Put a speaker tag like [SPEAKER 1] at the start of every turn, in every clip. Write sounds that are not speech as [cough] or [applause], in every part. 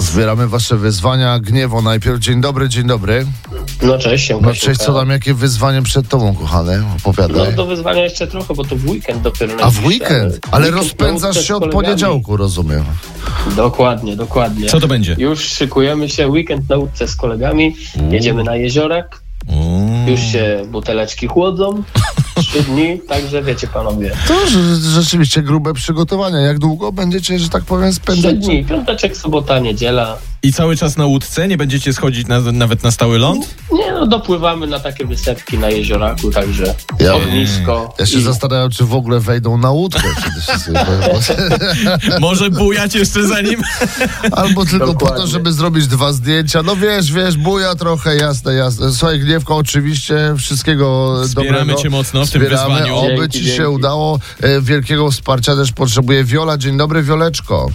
[SPEAKER 1] Zbieramy wasze wyzwania. Gniewo najpierw. Dzień dobry, dzień dobry.
[SPEAKER 2] No cześć, się
[SPEAKER 1] No cześć, co tam, jakie wyzwanie przed tobą, kochany?
[SPEAKER 2] No
[SPEAKER 1] Opowiadaj.
[SPEAKER 2] do wyzwania jeszcze trochę, bo to w weekend dopiero.
[SPEAKER 1] A w
[SPEAKER 2] najbliższy,
[SPEAKER 1] weekend? Ale
[SPEAKER 2] weekend
[SPEAKER 1] rozpędzasz
[SPEAKER 2] nauczę z
[SPEAKER 1] się od
[SPEAKER 2] kolegami.
[SPEAKER 1] poniedziałku, rozumiem.
[SPEAKER 2] Dokładnie, dokładnie.
[SPEAKER 3] Co to będzie?
[SPEAKER 2] Już szykujemy się, weekend na łódce z kolegami, jedziemy na jeziorak,
[SPEAKER 3] Mm.
[SPEAKER 2] już się buteleczki
[SPEAKER 1] [laughs]
[SPEAKER 2] chłodzą, trzy dni, także wiecie panowie,
[SPEAKER 1] To rze- rzeczywiście grube przygotowania. Jak długo będziecie, że tak powiem,
[SPEAKER 2] trzy
[SPEAKER 1] spędzać?
[SPEAKER 2] dni, piąteczek, sobota, niedziela.
[SPEAKER 3] I cały czas na łódce? Nie będziecie schodzić na, nawet na stały ląd?
[SPEAKER 1] [laughs]
[SPEAKER 2] Nie no, dopływamy na takie wysepki na jezioraku, także
[SPEAKER 1] Ja-
[SPEAKER 2] ognisko.
[SPEAKER 1] Ja się
[SPEAKER 2] i-
[SPEAKER 1] zastanawiam, czy w ogóle wejdą na łódkę. przede wszystkim, bo-
[SPEAKER 3] Może bujać jeszcze za nim?
[SPEAKER 1] Albo tylko po to,
[SPEAKER 2] Dokładnie.
[SPEAKER 1] żeby zrobić dwa zdjęcia. No wiesz, wiesz, buja trochę, jasne, jasne. Słuchaj, Gniewko, oczywiście wszystkiego
[SPEAKER 3] Wspieramy
[SPEAKER 1] dobrego.
[SPEAKER 3] cię mocno w tym
[SPEAKER 1] Wspieramy.
[SPEAKER 3] wyzwaniu.
[SPEAKER 1] Oby
[SPEAKER 2] Dzięki,
[SPEAKER 1] ci się
[SPEAKER 2] dzięki.
[SPEAKER 1] udało. E, Wielkiego wsparcia też potrzebuje Wiola. Dzień dobry, Wioleczko.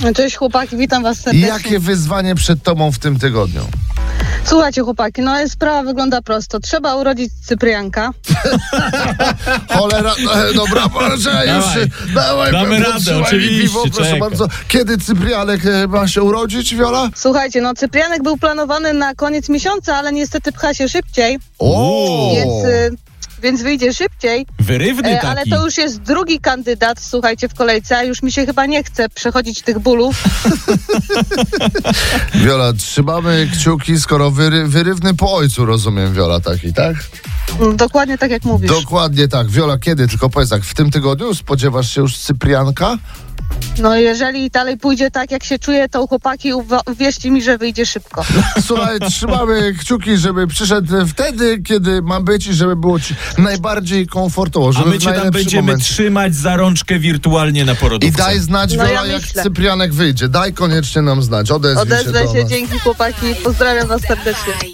[SPEAKER 4] No, Cześć chłopaki, witam was
[SPEAKER 1] I
[SPEAKER 4] serdecznie.
[SPEAKER 1] jakie wyzwanie przed tobą w tym tygodniu?
[SPEAKER 4] Słuchajcie chłopaki, no ale sprawa wygląda prosto. Trzeba urodzić Cyprianka.
[SPEAKER 1] Cholera, e, dobra, proszę,
[SPEAKER 3] Dawaj.
[SPEAKER 1] już, dawaj,
[SPEAKER 3] Damy radę,
[SPEAKER 1] podtrzymaj mi
[SPEAKER 3] oczywiście,
[SPEAKER 1] piwo, proszę
[SPEAKER 3] czekam.
[SPEAKER 1] bardzo. Kiedy Cyprianek e, ma się urodzić, Wiola?
[SPEAKER 4] Słuchajcie, no Cyprianek był planowany na koniec miesiąca, ale niestety pcha się szybciej,
[SPEAKER 1] O!
[SPEAKER 4] więc, y, więc wyjdzie szybciej.
[SPEAKER 3] Wyrywny
[SPEAKER 4] E,
[SPEAKER 3] taki.
[SPEAKER 4] ale to już jest drugi kandydat, słuchajcie, w kolejce, a już mi się chyba nie chce przechodzić tych bólów.
[SPEAKER 1] Wiola, trzymamy kciuki, skoro wyry, wyrywny po ojcu, rozumiem, Wiola, taki, tak?
[SPEAKER 4] Mm, Dokładnie tak jak mówisz.
[SPEAKER 1] Dokładnie tak. Wiola, kiedy? Tylko powiedz tak, w tym tygodniu spodziewasz się już Cyprianka?
[SPEAKER 4] No jeżeli dalej pójdzie tak, jak się czuję, to chłopaki uwa- uwierzcie mi, że wyjdzie szybko.
[SPEAKER 3] [laughs]
[SPEAKER 1] Słuchaj, trzymamy kciuki, żeby przyszedł wtedy, kiedy ma być i żeby było ci najbardziej komfortowo,
[SPEAKER 3] A
[SPEAKER 1] żeby
[SPEAKER 3] my
[SPEAKER 1] w
[SPEAKER 3] cię tam
[SPEAKER 1] najlepszym
[SPEAKER 3] będziemy
[SPEAKER 1] momencie.
[SPEAKER 3] trzymać za rączkę wirtualnie na
[SPEAKER 1] I
[SPEAKER 3] porodówce.
[SPEAKER 1] daj znać,
[SPEAKER 4] No ja
[SPEAKER 1] Wiola, jak
[SPEAKER 4] myślę.
[SPEAKER 1] Cyprianek wyjdzie. Daj koniecznie nam znać. Odezwij
[SPEAKER 4] Odezwę
[SPEAKER 1] się do
[SPEAKER 4] się,
[SPEAKER 1] nas.
[SPEAKER 4] dzięki chłopaki, pozdrawiam was serdecznie.